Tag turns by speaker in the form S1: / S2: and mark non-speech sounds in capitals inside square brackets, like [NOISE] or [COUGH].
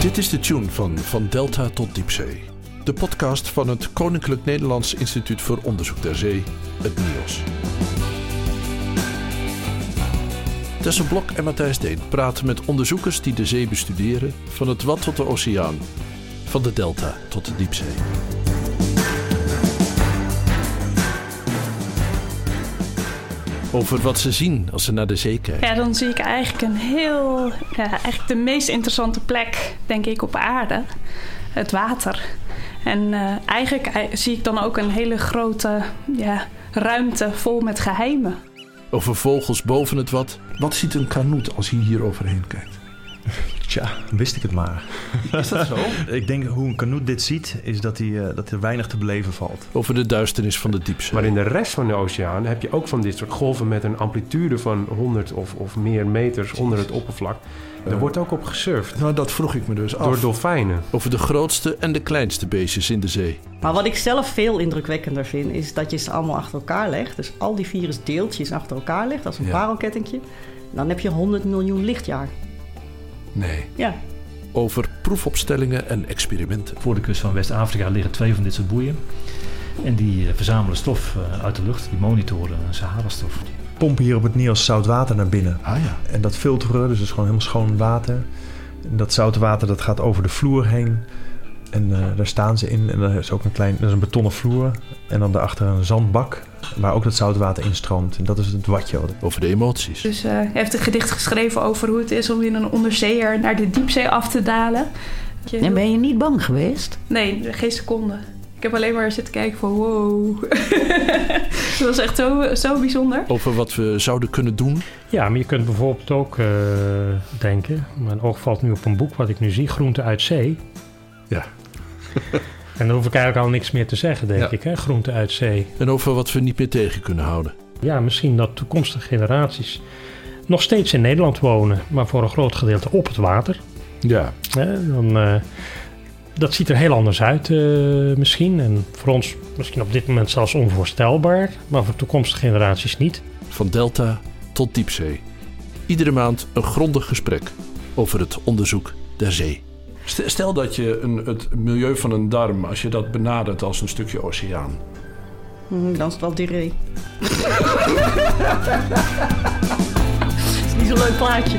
S1: Dit is de tune van Van Delta tot Diepzee. De podcast van het Koninklijk Nederlands Instituut voor Onderzoek der Zee, het NIOS. Tessa Blok en Matthijs Deen praten met onderzoekers die de zee bestuderen, van het wat tot de oceaan, van de delta tot de diepzee. Over wat ze zien als ze naar de zee kijken.
S2: Ja, dan zie ik eigenlijk een heel, ja, eigenlijk de meest interessante plek, denk ik, op aarde. Het water. En eh, eigenlijk eh, zie ik dan ook een hele grote ja, ruimte vol met geheimen.
S1: Over vogels boven het wat. Wat ziet een kanoet als hij hier overheen kijkt?
S3: Tja, wist ik het maar.
S1: [LAUGHS] Is dat zo?
S3: Ik denk hoe een kanoet dit ziet, is dat, hij, eh, dat er weinig te beleven valt.
S1: Over de duisternis van de diepzee.
S4: Maar in de rest van de oceaan heb je ook van dit soort golven met een amplitude van 100 of, of meer meters onder het oppervlak. Er wordt ook op gesurfd
S5: Nou, dat vroeg ik me dus af.
S4: door dolfijnen.
S1: Over de grootste en de kleinste beestjes in de zee.
S6: Maar wat ik zelf veel indrukwekkender vind, is dat je ze allemaal achter elkaar legt. Dus al die virusdeeltjes achter elkaar legt, als een
S1: Ja.
S6: parelkettingje. Dan heb je 100 miljoen lichtjaar.
S1: Nee.
S6: Ja,
S1: Over proefopstellingen en experimenten.
S7: Voor de kust van West-Afrika liggen twee van dit soort boeien. En die eh, verzamelen stof eh, uit de lucht, die monitoren eh, Sahara-stof.
S3: Pompen hier op het Niels zout water naar binnen.
S1: Ah ja.
S3: En dat filteren, dus dat is gewoon helemaal schoon water. En dat zout water dat gaat over de vloer heen. En eh, daar staan ze in. En daar is ook een klein, dat is een betonnen vloer. En dan daarachter een zandbak, waar ook dat zout water instroomt. En dat is het watje. wat-
S1: Over de emoties.
S2: Dus eh, hij heeft een gedicht geschreven over hoe het is om in een onderzeeër naar de diepzee af te dalen. Je-
S8: En ben je niet bang geweest?
S2: Nee, geen seconde. Ik heb alleen maar zitten kijken van wow. [LAUGHS] dat was echt zo, zo bijzonder.
S1: Over wat we zouden kunnen doen.
S9: Ja, maar je kunt bijvoorbeeld ook eh, denken, mijn oog valt nu op een boek wat ik nu zie, Groente uit Zee.
S1: Ja.
S9: [LAUGHS] en dan hoef ik eigenlijk al niks meer te zeggen, denk
S1: Ja.
S9: ik, hè? Groente uit Zee.
S1: En over wat we niet meer tegen kunnen houden.
S9: Ja, misschien dat toekomstige generaties nog steeds in Nederland wonen, maar voor een groot gedeelte op het water.
S1: Ja.
S9: Hè? Dan, eh, dat ziet er heel anders uit eh, misschien. En voor ons misschien op dit moment zelfs onvoorstelbaar, maar voor toekomstige generaties niet.
S1: Van delta tot diepzee. Iedere maand een grondig gesprek over het onderzoek der zee. Stel dat je een, het milieu van een darm, als je dat benadert als een stukje oceaan.
S6: hm, dan is het wel
S8: [LAUGHS]
S6: [LAUGHS] diré. Het is niet zo'n leuk plaatje.